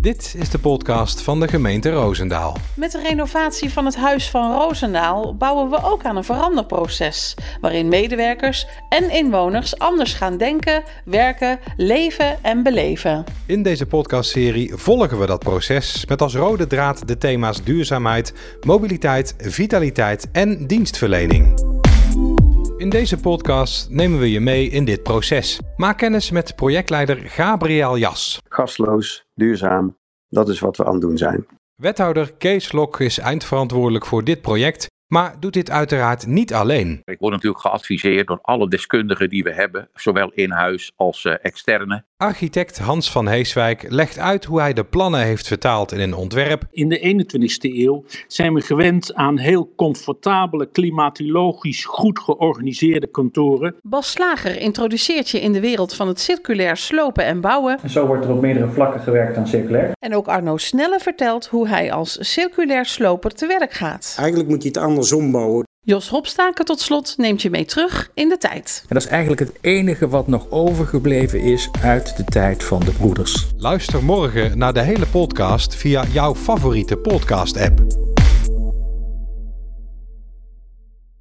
Dit is de podcast van de gemeente Roosendaal. Met de renovatie van het Huis van Roosendaal bouwen we ook aan een veranderproces. Waarin medewerkers en inwoners anders gaan denken, werken, leven en beleven. In deze podcastserie volgen we dat proces met als rode draad de thema's duurzaamheid, mobiliteit, vitaliteit en dienstverlening. In deze podcast nemen we je mee in dit proces. Maak kennis met projectleider Gabriel Jas. gasloos, duurzaam. Dat is wat we aan het doen zijn. Wethouder Kees Lok is eindverantwoordelijk voor dit project, maar doet dit uiteraard niet alleen. Ik word natuurlijk geadviseerd door alle deskundigen die we hebben, zowel in huis als eh, externe. Architect Hans van Heeswijk legt uit hoe hij de plannen heeft vertaald in een ontwerp In de 21ste eeuw zijn we gewend aan heel comfortabele, klimatologisch goed georganiseerde kantoren. Bas Slager introduceert je in de wereld van het circulair slopen en bouwen. En zo wordt er op meerdere vlakken gewerkt aan circulair. En ook Arno Snelle vertelt hoe hij als circulair sloper te werk gaat. Eigenlijk moet je het andersom bouwen. Jos Hopstaken tot slot neemt je mee terug in de tijd. En dat is eigenlijk het enige wat nog overgebleven is uit de tijd van de broeders. Luister morgen naar de hele podcast via jouw favoriete podcast-app.